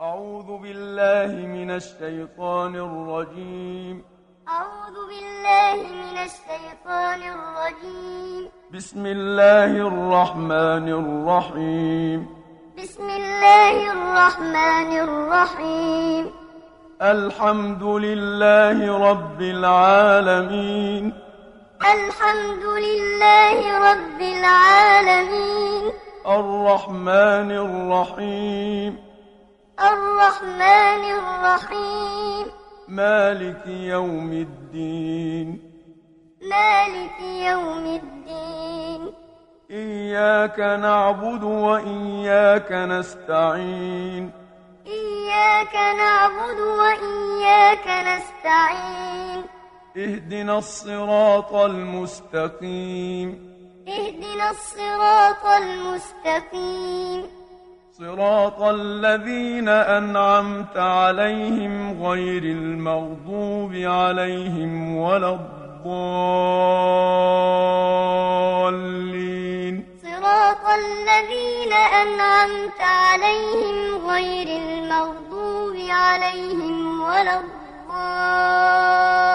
أعوذ بالله من الشيطان الرجيم أعوذ بالله من الشيطان الرجيم بسم الله الرحمن الرحيم بسم الله الرحمن الرحيم الحمد لله رب العالمين الحمد لله رب العالمين الرحمن الرحيم الرحمن الرحيم مالك يوم الدين مالك يوم الدين إياك نعبد وإياك نستعين إياك نعبد وإياك نستعين اهدنا الصراط المستقيم اهدنا الصراط المستقيم صراط الذين أنعمت عليهم غير المغضوب عليهم ولا الضالين صراط الذين أنعمت عليهم غير المغضوب عليهم ولا الضالين